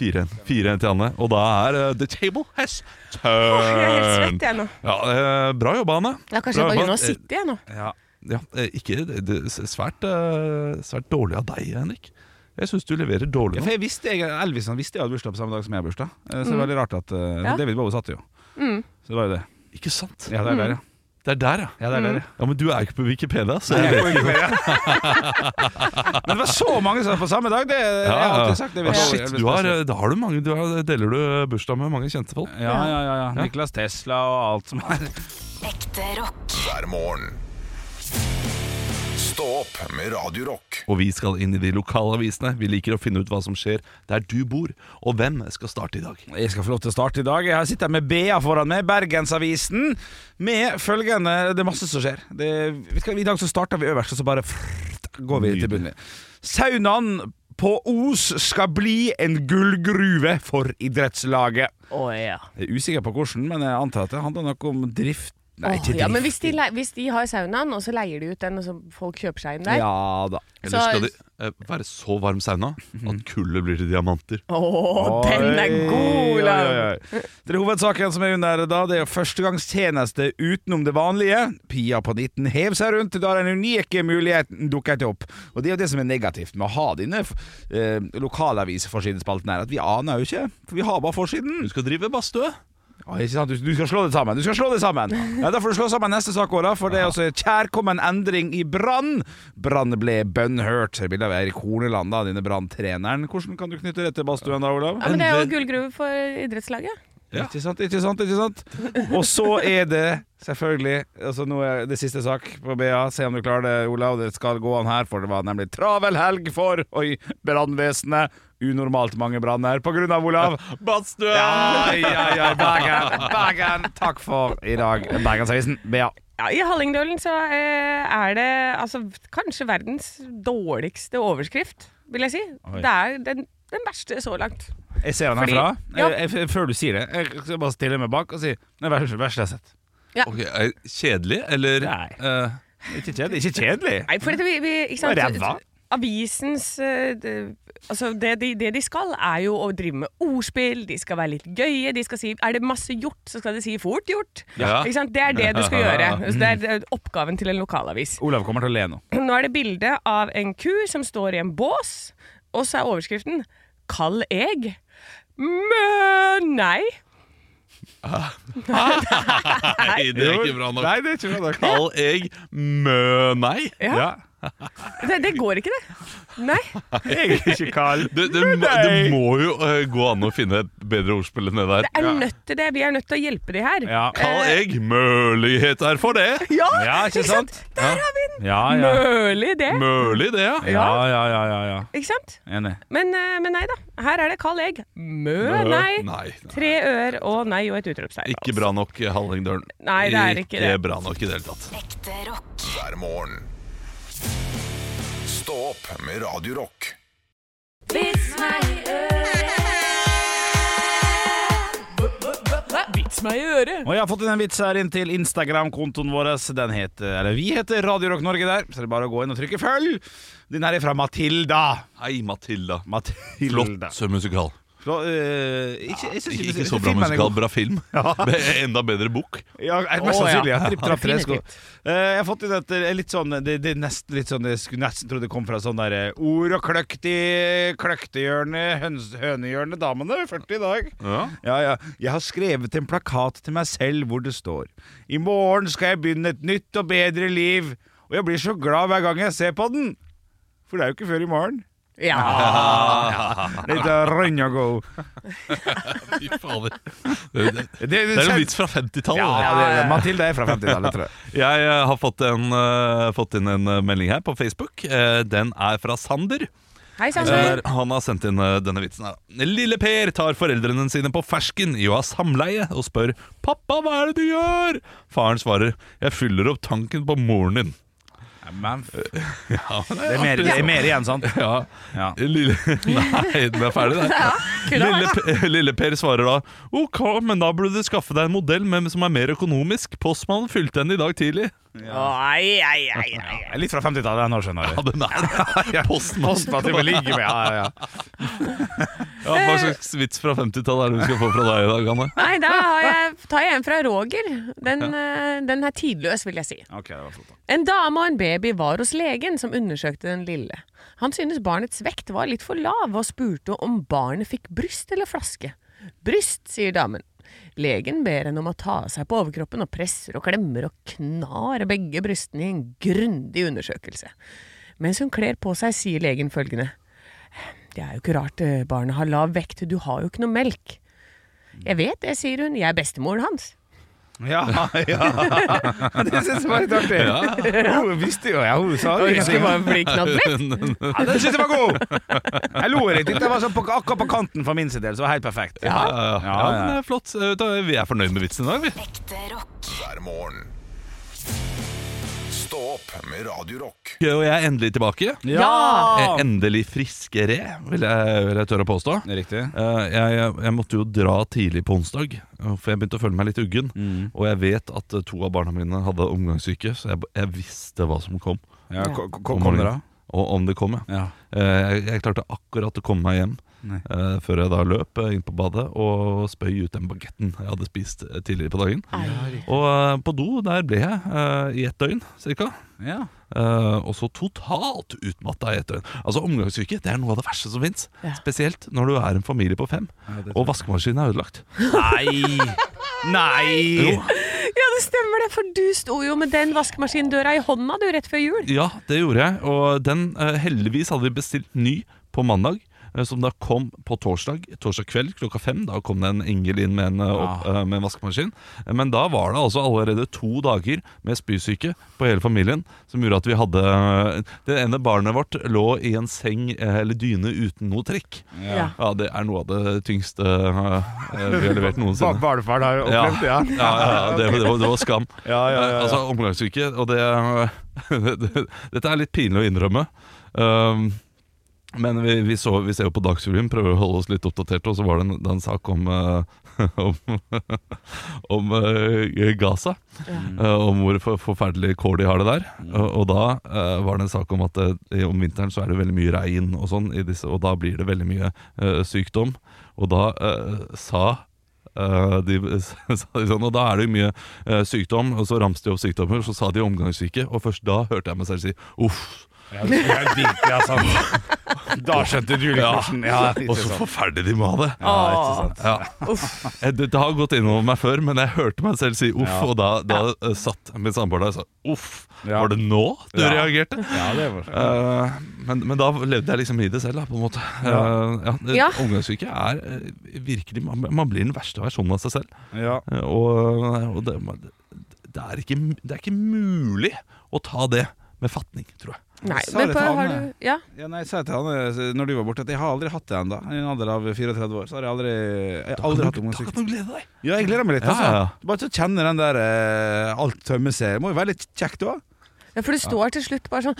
S2: 4-1 4-1 til Anne. Og da er eh, the table has
S4: Åh, jeg er helt
S2: turned.
S4: svett, jeg nå.
S2: Ja, eh, bra jobba, Anne.
S4: Ja, kanskje
S2: Bra jobba.
S4: jeg bare begynner å sitte, jeg nå.
S3: Ja.
S2: Ja, eh, ikke det, det, svært, eh, svært dårlig av deg, Henrik. Jeg syns du leverer dårlig
S3: Ja,
S2: nå.
S3: for jeg visste, jeg, Elvis han visste jeg hadde bursdag på samme dag som jeg har bursdag. Eh, Så det var veldig rart at eh,
S4: Ja.
S3: David Bowie satt jo. Så det var jo det.
S2: Ikke sant?
S3: Ja, det er der, ja.
S2: Det er der, ja.
S3: ja, det er der, ja.
S2: ja. Men du er jo ikke på Wikipedia, så
S3: Nei,
S2: jeg
S3: jeg
S2: vet
S3: får ikke mer, ja. [laughs] Men det var så mange som var på samme dag! Det jeg
S2: ja,
S3: har jeg
S2: ja.
S3: alltid sagt. David
S2: Ah,
S3: Bowie,
S2: shit,
S3: Elvis
S2: du har,
S3: Presley.
S2: eh, da har du mange, du har, deler du eh, bursdag med mange kjente folk.
S3: ja, ja, ja, ja. Niklas Tesla og alt som er
S5: Ekte rock.
S1: hver morgen. Stå opp med Radio Rock.
S2: Og vi skal inn i de lokale avisene. Vi liker å finne ut hva som skjer der du bor, og hvem skal starte i dag.
S3: Jeg skal få lov til å starte i dag. Jeg sitter her med BA foran meg, Bergensavisen, med følgende Det er masse som skjer. Det, vet du hva, I dag så starter vi øverst, og så bare frrt, går vi til bunnen. Saunaen på Os skal bli en gullgruve for idrettslaget.
S4: Å ja.
S3: Jeg er usikker på hvordan, men jeg antar at det handler nok om drift. Nei,
S4: Åh,
S3: ikke drift.
S4: ja, men hvis de, lei- hvis de har saunaen, og så leier de ut den, og så folk kjøper seg inn der
S3: Ja da.
S2: Eller
S4: Så-
S2: skal det eh, være så varm
S3: [laughs]
S2: sauna at kullet blir til diamanter?
S4: Åh, den er god,
S3: Oi,
S4: Olav!
S3: oi, oi. Det er hovedsaken som er under da, det er førstegangstjeneste utenom det vanlige. Pia på 19 hev seg rundt da den unike muligheten dukket opp. Og det er jo det som er negativt med å ha dine eh, lokalavisforsidespalten her, at vi aner jo ikke, for vi har bare forsiden.
S2: Du skal drive badstue.
S3: Ja, ikke sant? Du, du skal slå det sammen! Du skal slå det sammen Ja, Da får du slå sammen neste sak, Ola, for det er altså kjærkommen endring i Brann. Brann ble bønnhørt. Her er Bilde av Eirik Horneland, da, dine Brann-treneren. Hvordan kan du knytte det til badstuen, da, Olav?
S4: Ja, men det er jo gullgruve for idrettslaget.
S2: Ja.
S3: Ikke sant, ikke sant, ikke sant? Og så er det selvfølgelig altså Nå er det siste sak på BA. Se om du klarer det, Olav. Det skal gå an her, for det var nemlig travel helg for Oi, brannvesenet. Unormalt mange branner på grunn av Olav.
S2: Badstue!
S3: Ja, ja, ja, Bergen, Bergen. Takk for i dag, Bergensavisen. BA.
S4: Ja, I Hallingdølen så eh, er det altså kanskje verdens dårligste overskrift, vil jeg si.
S3: Oi.
S4: Det er den, den verste så langt.
S3: Jeg ser den
S4: Fordi-
S3: herfra. Eh,
S4: Ja.
S3: Jeg, jeg, før du sier det, jeg skal bare stille meg bak og si Det er verste verste jeg har sett.
S2: Ok, er det Kjedelig, eller?
S3: Nei.
S2: eh,
S3: Ikke kjedelig. Ikke kjedelig.
S4: Nei, for dette, vi, vi, ikke sant?
S3: Ræva.
S4: Avisens eh, det- Altså, det de, det de skal, er jo å drive med ordspill, de skal være litt gøye, de skal si Er det masse gjort, så skal de si fort gjort.
S2: Ja.
S4: Ikke sant? Det er det du skal gjøre.
S3: [laughs]
S4: Så det er eh, oppgaven til en lokalavis.
S3: Olav kommer til å le nå.
S4: Nå er det bilde av en ku som står i en bås, og så er overskriften 'Kald egg'. Mø... Nei.
S2: Nei, det er ikke bra nok.
S3: Nei, det er ikke bra nok. [laughs]
S2: Kall egg mø nei.
S4: Ja.
S3: Ja.
S4: Det, det går ikke, det. Nei.
S3: Jeg er ikke kald.
S2: Det, det, må- det må jo eh, gå an å finne et bedre ordspill enn det der.
S4: Det er nødt til det. Vi er nødt til å hjelpe de her.
S3: Ja.
S2: Kall egg muligheter for det!
S4: Ja,
S3: Ja, ikke sant?
S4: Der har vi den!
S3: Ja, ja.
S4: Mølig det,
S2: Mølig det, ja.
S3: Ja, ja, ja, ja, ja.
S4: ikke sant?
S3: Enig.
S4: Men, eh, men nei da. Her er det kald egg. Mø, nei.
S2: Nei, nei.
S4: Tre øer og nei og et utropstegn.
S2: Ikke bra nok, eh, Hallingdølen.
S4: Nei, det er ikke det.
S2: bra nok i det hele tatt.
S5: ekte rock,
S1: hver morgen. Stå opp med Radio Rock.
S4: Vits meg i øret!
S3: Og jeg har fått inn en vits her inn til Instagram-kontoen vår. Den heter, eller Vi heter Radio Rock Norge der, så det er bare å gå inn og trykke følg. Den her er fra Matilda.
S2: Hei, Matilda.
S3: Matilda.
S2: Flott musikal.
S3: Flott, eh, ikke, jeg synes
S2: Ikke,
S3: ikke-
S2: ikke så bra
S3: filmen er
S2: musikal,
S3: god.
S2: bra
S3: [laughs]
S2: film. Be- Enda bedre bok.
S3: Ja, eh, mest
S4: Å, ja.
S3: sannsynlig. Ja. Tripp, trapp, tre sko.
S4: Definitivt.
S3: Eh, jeg har fått inn et eh, litt sånn Det, det er nesten litt sånn Jeg skulle nesten tro det kom fra sånn der eh, Ord og kløkt i kløktehjørnet, høns- hønehjørnet, damene. 40 i dag.
S2: Ja.
S3: Ja, ja. Jeg har skrevet en plakat til meg selv hvor det står I morgen skal jeg begynne et nytt og bedre liv Og jeg blir så glad hver gang jeg ser på den For det er jo ikke før i morgen
S4: Ja.
S3: Litt av run and go
S2: Fy fader. Det, det,
S3: Det,
S2: det er en vits fra 50-tallet.
S3: Ja,
S2: det.
S3: det, det. Mathilde er fra 50-tallet, tror jeg
S2: Jeg eh, har fått, en, eh, fått inn en eh, melding her på Facebook. Eh, den er fra Sander.
S4: Hei,
S2: Eh,
S4: Sander.
S2: han har sendt inn eh, denne vitsen her. da. Lille Per tar foreldrene sine på fersken i å ha samleie og spør 'Pappa, hva er det du gjør?' Faren svarer 'Jeg fyller opp tanken på moren din'.
S3: Ja, men f- det, er mer, det er mer igjen, sant?
S2: Ja.
S3: Ja.
S2: Lille... [laughs] Nei, den er ferdig, den.
S4: kunne
S2: Lille, P- Lille Per svarer da OK, men da burde du skaffe deg en modell med, som er mer økonomisk. Postmannen fylte den i dag tidlig.
S4: Ai, ai, ai, ai.
S3: Jeg er Litt fra 50-tallet, nå
S2: [laughs]
S3: skjønner
S2: Ja,
S3: jeg
S2: den er Postmann.
S3: Posten at vi må ligge med ja, ja, ja.
S2: Ja, hva slags vits fra 50-tallet er det vi skal få fra deg i dag, Anne?
S4: Nei, da har jeg, tar jeg en fra Roger. Den, eh, den er tidløs, vil jeg si.
S3: Ok, det var flott da
S4: En dame og en baby var hos legen som undersøkte den lille. Han syntes barnets vekt var litt for lav og spurte om barnet fikk bryst eller flaske. Bryst, sier damen. Legen ber henne om å ta av seg på overkroppen og presser og klemmer og knar begge brystene i en grundig undersøkelse. Mens hun kler på seg, sier legen følgende. Det er jo ikke rart eh, barnet har lav vekt, du har jo ikke noe melk. Jeg vet det, sier hun, jeg er bestemoren hans.
S3: Ja, [laughs] ja Det synes jeg var litt artig Hun visste jo, ja, hun sa jo
S4: Jeg skulle bare bli knadd vekk.
S2: [laughs]
S3: Ja, den synes jeg var god! [laughs] Jeg lo litt. Det var sånn på, akkurat på kanten for min sin del, så det var helt perfekt.
S2: Ja, ja, ja.
S3: Ja, ja.
S2: men det er flott. Eh, Da, vi er fornøyd med vitsen i dag, vi.
S5: ekte rock,
S1: hver morgen. Stå opp med Radio Rock.
S2: Og jeg er endelig tilbake.
S3: Ja!
S2: Eh, Endelig friskere, vil jeg, vil jeg tørre å påstå.
S3: Det er Riktig.
S2: Eh, jeg, jeg, jeg måtte jo dra tidlig på onsdag, eh, for jeg begynte å føle meg litt uggen.
S3: Mm.
S2: Og jeg vet at eh, to av barna mine hadde omgangssyke, så jeg, jeg visste hva som kom.
S3: Ja, ko- ko-
S2: om
S3: Kom det, da?
S2: morgenen. Og om det kom, ja.
S3: Ja.
S2: Eh, jeg, jeg klarte akkurat å komme meg hjem
S3: Nei.
S2: eh, før jeg da løp eh, inn på badet og spøy ut den bagetten jeg hadde spist eh, tidligere på dagen. Og eh, på do der ble jeg eh, i ett døgn cirka.
S3: Ja.
S2: Eh, og så totalt utmatta i et døgn. Altså Omgangssyke det er noe av det verste som fins.
S4: Ja.
S2: Spesielt når du er en familie på fem,
S3: det
S2: og vaskemaskinen er ødelagt.
S3: Nei! Nei!
S2: Jo.
S4: Ja, det stemmer det, for du sto jo med den vaskemaskindøra i hånda du rett før jul.
S2: Ja, det gjorde jeg. Og den eh, heldigvis hadde vi bestilt ny på mandag. eh, Som da kom på torsdag Torsdag kveld klokka fem. Da kom det en engel inn med en, eh, opp, eh, med en vaskemaskin. Eh, Men da var det altså allerede to dager med spysyke på hele familien som gjorde at vi hadde eh, Det ene barnet vårt lå i en seng eh, eller dyne uten noe trekk.
S4: Ja.
S2: Ja, det er noe av det tyngste eh, eh, vi har levert
S3: Ba-
S2: noensinne.
S3: Barnefaren har
S2: Ja, ja,
S3: opplevd det, ja.
S2: ja, ja det, det, var, det var skam.
S3: Ja, ja,
S2: Eh,
S3: ja,
S2: Altså
S3: ja.
S2: omgangssyke Og det, [laughs] dette er litt pinlig å innrømme um, Men vi, vi, så, vi ser jo på Dagsrevyen Prøver å holde oss litt oppdaterte Og så var det en, det er en sak om eh, [laughs] Om, om eh, Gaza eh, Om hvor for, forferdelig kår de har det der Og, og da eh, var det en sak om at eh, Om vinteren så er det veldig mye regn Og, sånn, i disse, og da blir det veldig mye eh, sykdom Og da eh, sa Eh, de, [laughs] sa de sånn, og da er det jo mye eh, sykdom, og så ramste de opp sykdommer, så sa de omgangssyke, og først da hørte jeg meg selv si uff.
S3: Ja, det er digg, ja, sant. sånn. [laughs] Da skjønte du julekrosen. Ja,
S2: Og så forferdelig de må ha det.
S3: ikke
S4: Ah.
S3: sant.
S2: Ja. Jeg- Det, det har gått innover meg før, men jeg hørte meg selv si uff,
S3: Ja.
S2: og da, da eh, satt min samboer der og sa uff,
S3: Ja.
S2: var det nå du
S3: Ja.
S2: reagerte?
S4: [laughs]
S3: Ja, det var
S2: Eh, men, men da levde jeg liksom i det selv, da, på en måte.
S3: Ja.
S2: Eh, ja, det-
S4: Ja.
S2: Omgangssyke er eh, virkelig man, man blir den verste versjonen av seg selv.
S3: ja.
S2: Eh, og og det, man, det, er ikke, det er ikke mulig å ta det med fatning, tror jeg.
S4: Nei,
S3: sa
S4: men
S3: det
S4: på,
S3: til Anne.
S4: har du Ja.
S3: Ja, nei, sa jeg til han eh, når du var borte, at jeg har aldri hatt det ennå. I en alder av 34 år. Så har jeg aldri, jeg har
S2: Da kan du,
S3: aldri hatt
S2: da
S3: omgangssyke.
S2: kan du glede deg.
S3: Ja, jeg gleder meg litt.
S2: Ja,
S3: Altså.
S2: ja, ja.
S3: Bare til å kjenne den der eh, alt tømmer seg. Det må jo være litt kjekt òg.
S4: Ja, for du står til slutt bare sånn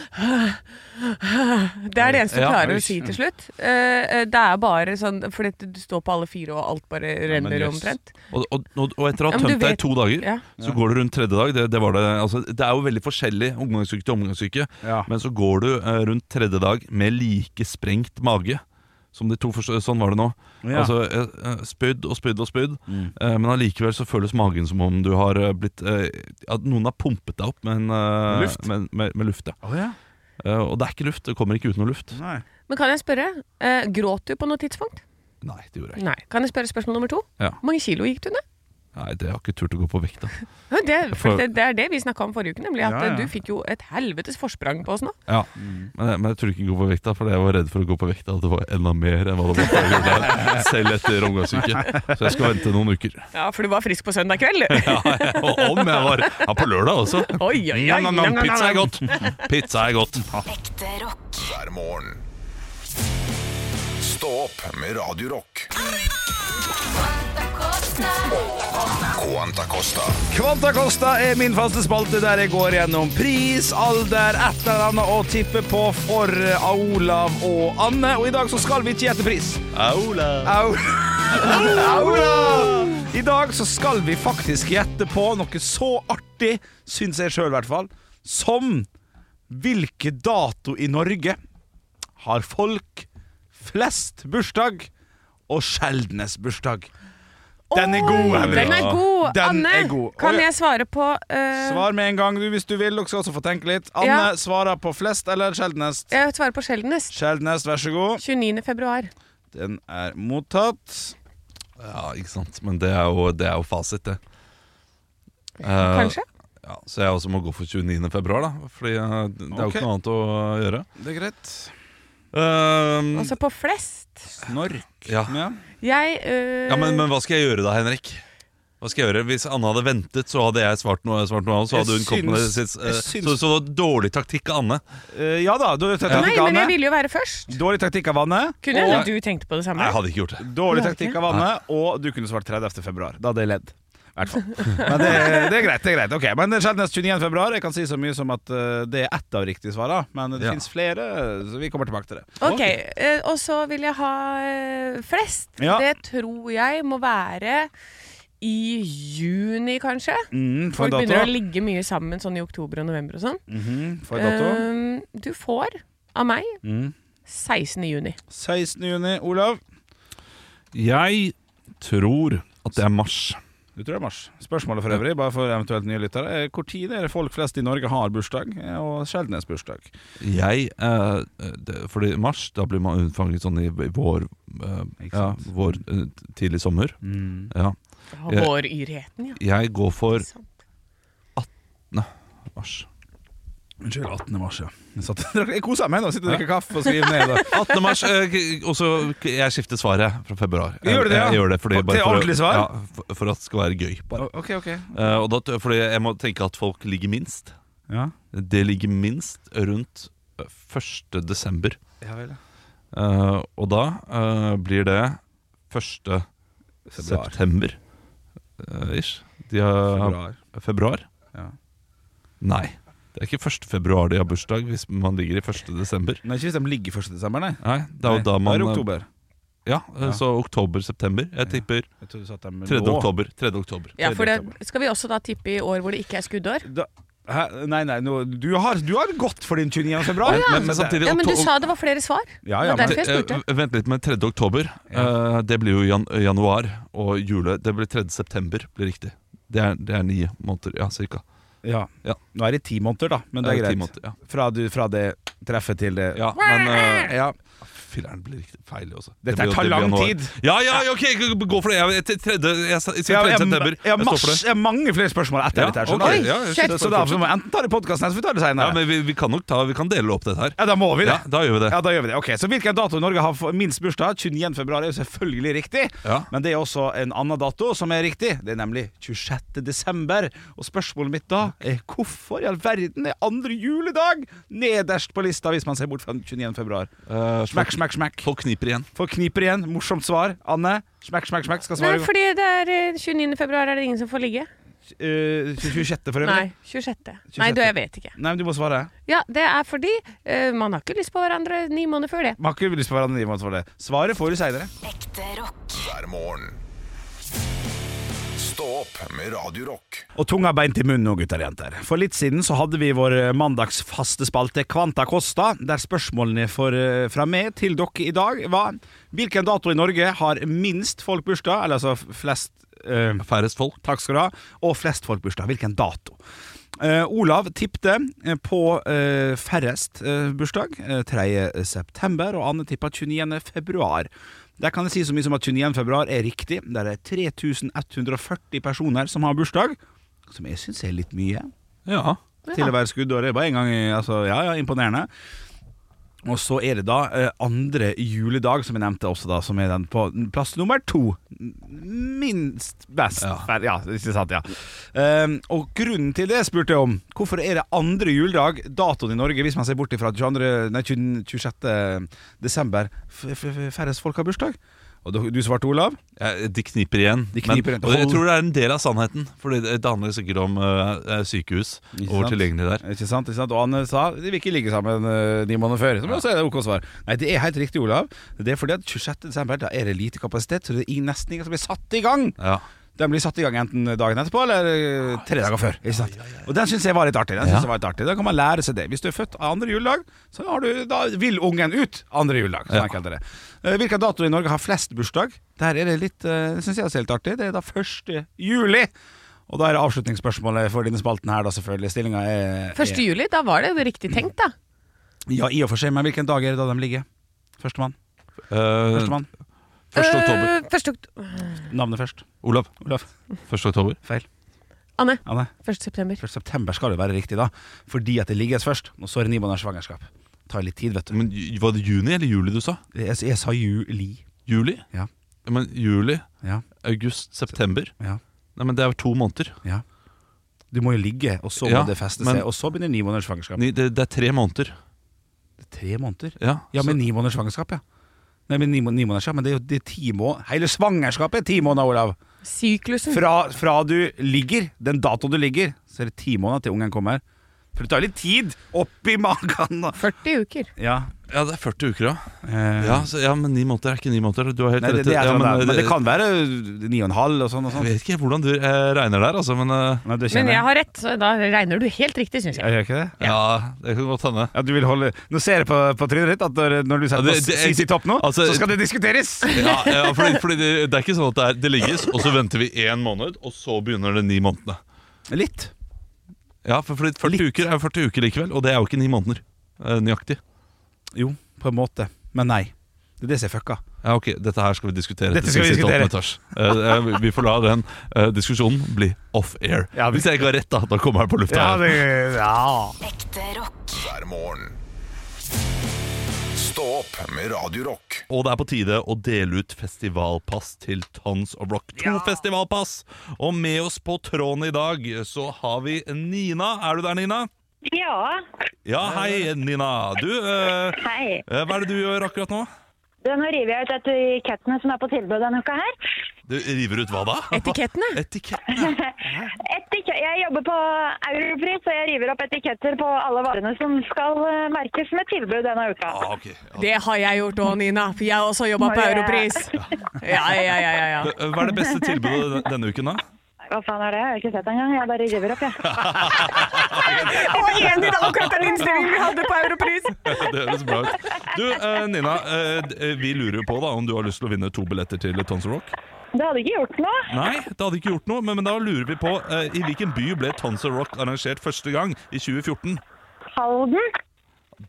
S4: Det er det eneste du
S2: Ja,
S4: klarer
S3: oi.
S4: å si til slutt. Eh, eh, Det er bare sånn Fordi at du står på alle fire, og alt bare renner
S3: jøss.
S4: omtrent.
S2: Og, og, og, og etter å ha
S4: Ja, men du
S2: tømt deg i
S4: vet-
S2: to dager,
S4: Ja.
S2: så går du rundt tredje dag. Det, det, var det, altså, det er jo veldig forskjellig omgangssyke til omgangssyke.
S3: Ja.
S2: Men så går du eh, rundt tredje dag med like sprengt mage som de to første. Sånn var det nå.
S3: Ja.
S2: Altså eh, eh, Spydd og spydd og spydd. Eh, men allikevel så føles magen som om du har eh, blitt eh, At noen har pumpet deg opp med, en, eh,
S3: Luft.
S2: Med, med, med luft ja.
S3: Å ja.
S2: Eh, og det er ikke luft. Det kommer ikke uten noe luft.
S3: Nei.
S4: Men kan jeg spørre, eh, gråt du på noe tidspunkt?
S2: Nei, det gjorde jeg ikke.
S4: Nei. Kan jeg spørre spørsmål nummer to?
S2: Ja.
S4: Hvor mange kilo gikk du ned?
S2: Nei, det har ikke turt å gå på vekta.
S4: Ja, Det, for
S2: For-
S4: det, det er det vi snakka om forrige uke, nemlig at
S3: Ja, ja.
S4: eh, du fikk jo et helvetes forsprang på oss nå.
S2: Ja,
S4: Mm.
S2: men, jeg- men jeg tror ikke gå på vekta, for jeg var redd for å gå på vekta. At det var enda mer enn hva det var før jeg gjorde
S4: [laughs]
S2: det, selv etter omgangsuke. Så jeg skal vente noen uker.
S4: Ja, for du var frisk på
S3: [laughs]
S4: søndag kveld, du.
S2: Ja, og om jeg var Ja, på lørdag også.
S4: Oi, oi, oi.
S2: Nam, nam, nam, Pizza er
S4: [laughs]
S2: godt! Pizza er godt.
S5: ekte rock,
S1: hver morgen. Stå opp med Radio Rock. Quanta Costa.
S3: Kvanta Costa er min faste spalte der jeg går gjennom pris, alder, et eller annet å tippe på for eh, Olav og Anne. Og i dag så skal vi ikke gjette pris.
S2: Aula.
S3: Au. Aula! I dag så skal vi faktisk gjette på noe så artig, syns jeg sjøl i hvert fall, som hvilke dato i Norge har folk flest bursdag og sjeldnest bursdag? Den er god,
S4: Oi,
S3: Henrik.
S4: Den er god.
S3: Den
S4: Anne,
S3: er god.
S4: kan
S3: Oi.
S4: jeg svare på eh,
S3: Svar med en gang du, hvis du vil. Dere skal også få tenke litt. Anne
S4: Ja.
S3: svarer på flest eller sjeldnest.
S4: Jeg svarer på sjeldnest.
S3: Sjeldnest, vær så god.
S4: 29. februar.
S3: Den er mottatt.
S2: Ja, ikke sant. Men det er jo, det er jo fasit, det. Eh,
S4: Kanskje?
S2: Ja, så jeg også må gå for 29. februar, da. Fordi eh, det er jo
S3: Ok.
S2: ikke noe annet å gjøre.
S3: Det er greit.
S2: Eh,
S4: Altså på flest.
S3: Snork.
S2: ja.
S3: Ja.
S4: Jeg eh,
S2: Ja, men, men hva skal jeg gjøre da, Henrik? Hva skal jeg gjøre? Hvis Anne hadde ventet, så hadde jeg svart noe, svart noe annet. Så
S3: Jeg
S2: hadde hun kommet med det
S3: syns-
S2: sitt, eh,
S3: jeg syns-
S2: så, så dårlig taktikk av Anne.
S3: Eh, ja da, dårlig
S4: Nei,
S3: taktikk av
S4: men jeg
S3: Anne.
S4: ville jo være først.
S3: Dårlig taktikk av Anne.
S4: Kunne hende
S2: Åh.
S4: du tenkte på det
S2: Nei,
S4: samme.
S2: jeg hadde ikke gjort det.
S3: Dårlig
S4: Nei.
S3: taktikk av Anne. Og du kunne svart 30. februar. Da hadde jeg ledd. I hvert
S4: [laughs]
S3: fall. Men det, det er greit. det er greit Ok, Men det er sjeldnest 29. februar. Jeg kan si så mye som at eh, det er ett av riktige svarene. Men det
S2: Ja.
S3: finnes flere, så vi kommer tilbake til det.
S4: Ok, eh, Og så vil jeg ha eh, flest.
S3: Ja.
S4: Det tror jeg må være i juni, kanskje.
S3: Mm, for
S4: Folk
S3: dato.
S4: begynner å ligge mye sammen sånn i oktober og november og sånn.
S3: Mhm, for dato.
S4: Eh, du får av meg
S3: Mm.
S4: 16. juni.
S3: 16. juni. Olav?
S2: Jeg tror at det er mars.
S3: Du tror det er mars. Spørsmålet for øvrig, bare for eventuelt nye lyttere, er hvor tid er det folk flest i Norge har bursdag, eh, og sjeldnest bursdag?
S2: Jeg, eh, det, fordi mars, da blir man unnfanget sånn i, i vår, eh,
S3: Ikke
S2: ja,
S3: sant. Mm.
S2: vår eh, tidlig sommer. Ja.
S4: Ja,
S2: Ja.
S4: Våryrheten, ja.
S2: Jeg går for
S4: Sant.
S2: mars.
S3: Unnskyld, 18. mars, ja. Jeg, satt, [laughs] jeg koser meg nå, sitter og drikker kaffe og skriver ned. og-
S2: 18. mars, eh, k- og så k- jeg skifter svaret fra februar.
S3: Du gjør det, ja?
S2: Jeg, jeg gjør det fordi,
S3: Og
S2: bare
S3: til
S2: for,
S3: ordentlig
S2: å-
S3: svar?
S2: Ja, for, for at det skal være gøy. [laughs] Bare.
S3: Ok, ok.
S2: Eh, og da, fordi jeg må tenke at folk ligger minst.
S3: Ja,
S2: Det ligger minst rundt eh, 1. desember.
S3: ja vel. ja.
S2: Eh, og da eh, blir det 1.
S3: Februar.
S2: september eh, ish. De har
S3: Februar.
S2: februar.
S3: Ja.
S2: Nei. Det er ikke 1. februar de har bursdag, hvis man ligger i 1. desember.
S3: Nei, ikke hvis de ligger 1. desember, nei.
S2: Nei, det er jo
S3: Nei,
S2: da man eh,
S3: det er oktober.
S2: Ja, eh,
S3: Ja.
S2: Så oktober-september. Jeg tipper
S3: Jeg trodde du sa at de
S2: 3.
S3: lå-
S2: oktober. 3. oktober.
S4: Ja, for det,
S3: Tredje oktober.
S4: skal vi også da tippe i år hvor det ikke er skuddår?
S3: Da, hæ? Nei, nei, nå, du, har, du har gått for din 29. februar.
S2: Men, men samtidig
S4: Ja, men du
S2: okto-
S4: sa det var flere svar.
S3: Ja, ja,
S4: Det var
S3: men-
S4: derfor jeg spurte.
S2: Eh, Vent litt, men 3. oktober eh, Det blir jo jan januar Og jule, det blir 3. september blir riktig det er, det er ni måneder, ja, cirka
S3: Ja.
S2: Ja.
S3: Nå er det ti måneder, da, men det er
S2: Eh, ti
S3: greit.
S2: måneder, ja.
S3: Fra, du, fra det treffet til det
S2: ja, men eh,
S3: Ja.
S2: Filler'n blir riktig feil også.
S3: Dette
S2: Det blir jo-
S3: tar
S2: det blir
S3: lang
S2: januar.
S3: tid.
S2: Ja, ja, ok, gå for det. Jeg, til tredje, jeg, sa- jeg, sier
S3: Jeg,
S2: tredje
S3: jeg,
S2: september.
S3: jeg, har
S2: jeg står for
S3: mars-
S2: det.
S3: jeg har mange flere spørsmål etter
S2: Ja,
S3: dette. her
S2: ok.
S3: skjønner du?
S2: Ja, jeg skjønner.
S3: så, så da får vi enten ta det i podkasten, eller så får vi ta det
S2: Ja,
S3: seinere. Ja,
S2: men vi, vi kan nok ta Vi kan dele opp dette her.
S3: da må vi det.
S2: Ja, da gjør vi det.
S3: Ja, da gjør vi det. Ok, Så hvilken dato i Norge har for- minst bursdag? 29. februar er jo selvfølgelig riktig.
S2: Ja.
S3: Men det er også en annen dato som er riktig. Det er nemlig 26. desember. Og spørsmålet mitt da er hvorfor i all verden er andre juledag nederst på lista hvis man ser bort fra den 29. februar?
S2: Eh,
S3: Smekk,
S2: folk,
S3: smekk, smekk.
S2: folk kniper igjen.
S3: Folk kniper igjen. Morsomt svar. Anne, smekk, smekk, smekk. Skal
S4: Nei,
S3: svare
S4: fordi det er eh, 29. februar er det ingen som får ligge.
S3: Eh, 26. for
S4: Nei,
S3: øvrig.
S4: 26. Nei, du, jeg vet ikke.
S3: Nei, men du må svare.
S4: Ja, det er fordi eh, man har ikke lyst på hverandre ni måneder før det.
S3: Man har ikke lyst på hverandre i måte for det. Svaret får du seinere.
S5: ekte rock,
S1: hver morgen. Stå opp med Radio Rock.
S3: Og tunga beint i munnen nå, gutter og jenter. For litt siden så hadde vi vår eh, mandags faste spalte Kvanta Kosta, der spørsmålene for, eh, fra meg til dere i dag var hvilken dato i Norge har minst folk bursdag, eller altså flest eh,
S2: Færrest folk.
S3: Takk skal du ha. Og flest folk bursdag. Hvilken dato? Eh, Olav tippte eh, på eh, færrest eh, bursdag, eh, 3. september, og Anne tippa 29. februar. Der kan jeg si så mye som at 29. februar er riktig. Der er 3140 personer som har bursdag, som jeg syns er litt mye
S2: Ja.
S3: til å være skuddåret. Bare en gang, i- altså, ja, ja, imponerende. Og så er det da eh, andre juledag, som jeg nevnte også, da, som er den på plass nummer to. Minst best.
S2: Ja.
S3: Ja, ikke sant, ja. Ehm, og grunnen til det spurte jeg om. Hvorfor er det andre juledag datoen i Norge, hvis man ser bort ifra at 22, nei, 20 26. desember, f f færrest folk har bursdag? Og du, du svarte, Olav?
S2: Ja, De kniper igjen.
S3: De kniper
S2: men,
S3: igjen.
S2: og jeg tror det er en del av sannheten. For det det handler sikkert om eh, sykehus
S3: Ikke
S2: og hvor
S3: sant?
S2: tilgjengelig det er.
S3: Ikke sant, ikke sant? Og Anne sa de vil ikke ligge sammen eh, ni måneder før. Som også er det ok svar. Nei, det er helt riktig, Olav. Det er fordi at 26. desember da er det lite kapasitet, så det er i- nesten ingen som blir satt i gang.
S2: Ja.
S3: Den blir satt i gang enten dagen etterpå eller eh, tre dager før. Ikke sant? Og den syns jeg var litt artig. Den
S2: Ja.
S3: synes jeg var litt artig Da kan man lære seg det. Hvis du er født andre juledag, så har du, da vil ungen ut andre juledag. Som
S2: Ja.
S3: jeg kalte det. Eh, Hvilken dato i Norge har flest bursdag? Der er det litt eh, Det syns jeg er helt artig. Det er da 1. juli. Og da er det avslutningsspørsmålet for denne spalten her, da selvfølgelig. Stillinga er
S4: 1. juli, da var det jo riktig tenkt, da.
S3: Ja, i og for seg, men hvilken dag er det da de ligger? Førstemann?
S2: Eh,
S3: Førstemann?
S2: 1. oktober.
S4: Eh, første okt-
S3: Navnet først.
S2: Olav.
S3: Olav.
S2: 1. oktober.
S3: Feil.
S4: Anne,
S3: Anne.
S4: 1. september.
S3: 1. september skal det være riktig, da. Fordi at det ligges først. Og så er det ni måneders svangerskap. Tar litt tid, vet du.
S2: Men ju- var det juni eller juli du sa?
S3: Jeg, jeg sa juli.
S2: Juli?
S3: Ja.
S2: Men juli,
S3: Ja.
S2: august, september.
S3: Ja.
S2: Nei, men det er to måneder.
S3: Ja. Du må jo ligge, og så må
S2: Ja,
S3: det feste
S2: men-
S3: seg. Og så begynner ni måneders svangerskap.
S2: Ni- Det, det er tre måneder.
S3: Tre måneder?
S2: Ja,
S3: Ja,
S2: så-
S3: men ni måneders svangerskap, ja. Nei, men ni, må- ni måneders, ja. Men det er jo det er ti måneder Hele svangerskapet er ti måneder, Olav!
S4: Syklusen.
S3: Fra, fra du ligger, den datoen du ligger, så er det ti måneder til ungen kommer. For det tar litt tid oppi magen. og-
S4: 40 uker.
S3: Ja.
S2: ja, det er 40 uker, ja.
S3: eh,
S2: Ja, så, ja, men ni måneder er ikke ni måneder. Du har helt
S3: Nei,
S2: rett.
S3: det, det er
S2: ja,
S3: sånn
S2: men, eh,
S3: det er. men, det
S2: det-
S3: kan være ni og en halv og sånn. Og
S2: Jeg
S3: sånn.
S2: vet ikke hvordan du eh, regner der, altså, men eh,
S3: Nei, du kjenner-
S4: Men jeg har rett, så da regner du helt riktig, syns
S3: Jeg
S4: jeg.
S3: gjør ikke det?
S2: ja, det kan godt hende.
S3: Ja, du vil holde Nå ser jeg på, på trynet ditt at når, når du setter
S2: Ja, det-
S3: på
S2: det-
S3: CC Topp nå,
S2: altså-
S3: så skal det diskuteres!
S2: Ja, ja fordi, fordi det, det er ikke sånn at det, er, det ligges, og så venter vi én måned, og så begynner det ni månedene.
S3: Litt.
S2: Ja, for fordi 40 uker er 40 uker likevel, og det er jo ikke ni måneder eh, nøyaktig.
S3: Jo, på en måte. Men nei. Det er det som er fucka.
S2: Ja, ok, Dette her skal vi diskutere.
S3: Dette
S2: etter
S3: skal
S2: 68.
S3: vi diskutere.
S2: etasje. Eh, eh, vi får la den eh, diskusjonen bli off air.
S3: Ja, vi-
S2: Hvis jeg ikke har rett, da, da kommer jeg på lufta. her.
S3: det, ja.
S5: ekte rock,
S1: hver morgen. Stå opp med Radio Rock
S2: Og det er på tide å dele ut festivalpass til Tons of Rock. To festivalpass! Og med oss på tråden i dag så har vi Nina. Er du der, Nina?
S8: Ja,
S2: Ja, hei, Nina. Du, eh,
S8: hei.
S2: eh, hva er det du gjør akkurat nå?
S8: Du, nå river jeg ut et etikettene som er på tilbud denne uka her.
S2: Du river ut hva da?
S4: Etikettene.
S2: Etikettene.
S8: Etikett, jeg jobber på Europris, så jeg river opp etiketter på alle varene som skal eh, merkes med tilbud denne uka.
S2: Ah, ok. Ja.
S4: Det har jeg gjort òg, Nina. For jeg har også jobba på
S8: Bare-
S4: Europris. Ja, ja, ja, ja, ja.
S2: Eh, Hva er det beste tilbudet den- denne uken, da?
S8: Hva faen er det? Jeg har ikke sett det engang. Jeg bare river
S2: [laughs]
S8: opp, jeg.
S4: Og enig i akkurat den innstillingen vi hadde på Europris!
S2: [laughs] Det høres bra ut. Du, eh, Nina, eh, d- eh, vi lurer jo på da om du har lyst til å vinne to billetter til Tons of Rock.
S8: Det hadde ikke gjort noe.
S2: Nei, det hadde ikke gjort noe, men, men da lurer vi på eh, i hvilken by ble Tons of Rock arrangert første gang i 2014?
S8: Halden.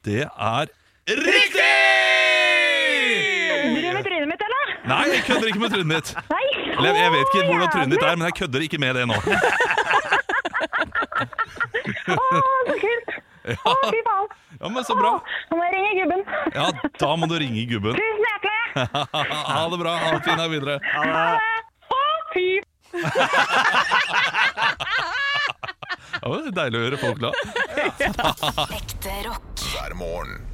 S2: Det er riktig! Nei, jeg kødder ikke med trynet ditt.
S8: Nei!
S2: Eller, jeg vet ikke
S8: Å,
S2: hvordan trynet ditt
S8: jævlig.
S2: er, men jeg kødder ikke med det nå.
S8: Å, så kult! Å, fy faen.
S2: [laughs] Ja, men Så bra.
S8: Å, Nå må jeg ringe gubben.
S2: Ja, Da må du ringe gubben. [laughs]
S8: Tusen hjertelig!
S2: Ha det bra. Ha en fin dag videre.
S8: Å, fy
S2: Ja, men det er deilig å gjøre folk glad.
S5: Ekte rock.
S1: hver morgen.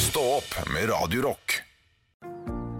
S1: Stå opp med Radio Rock.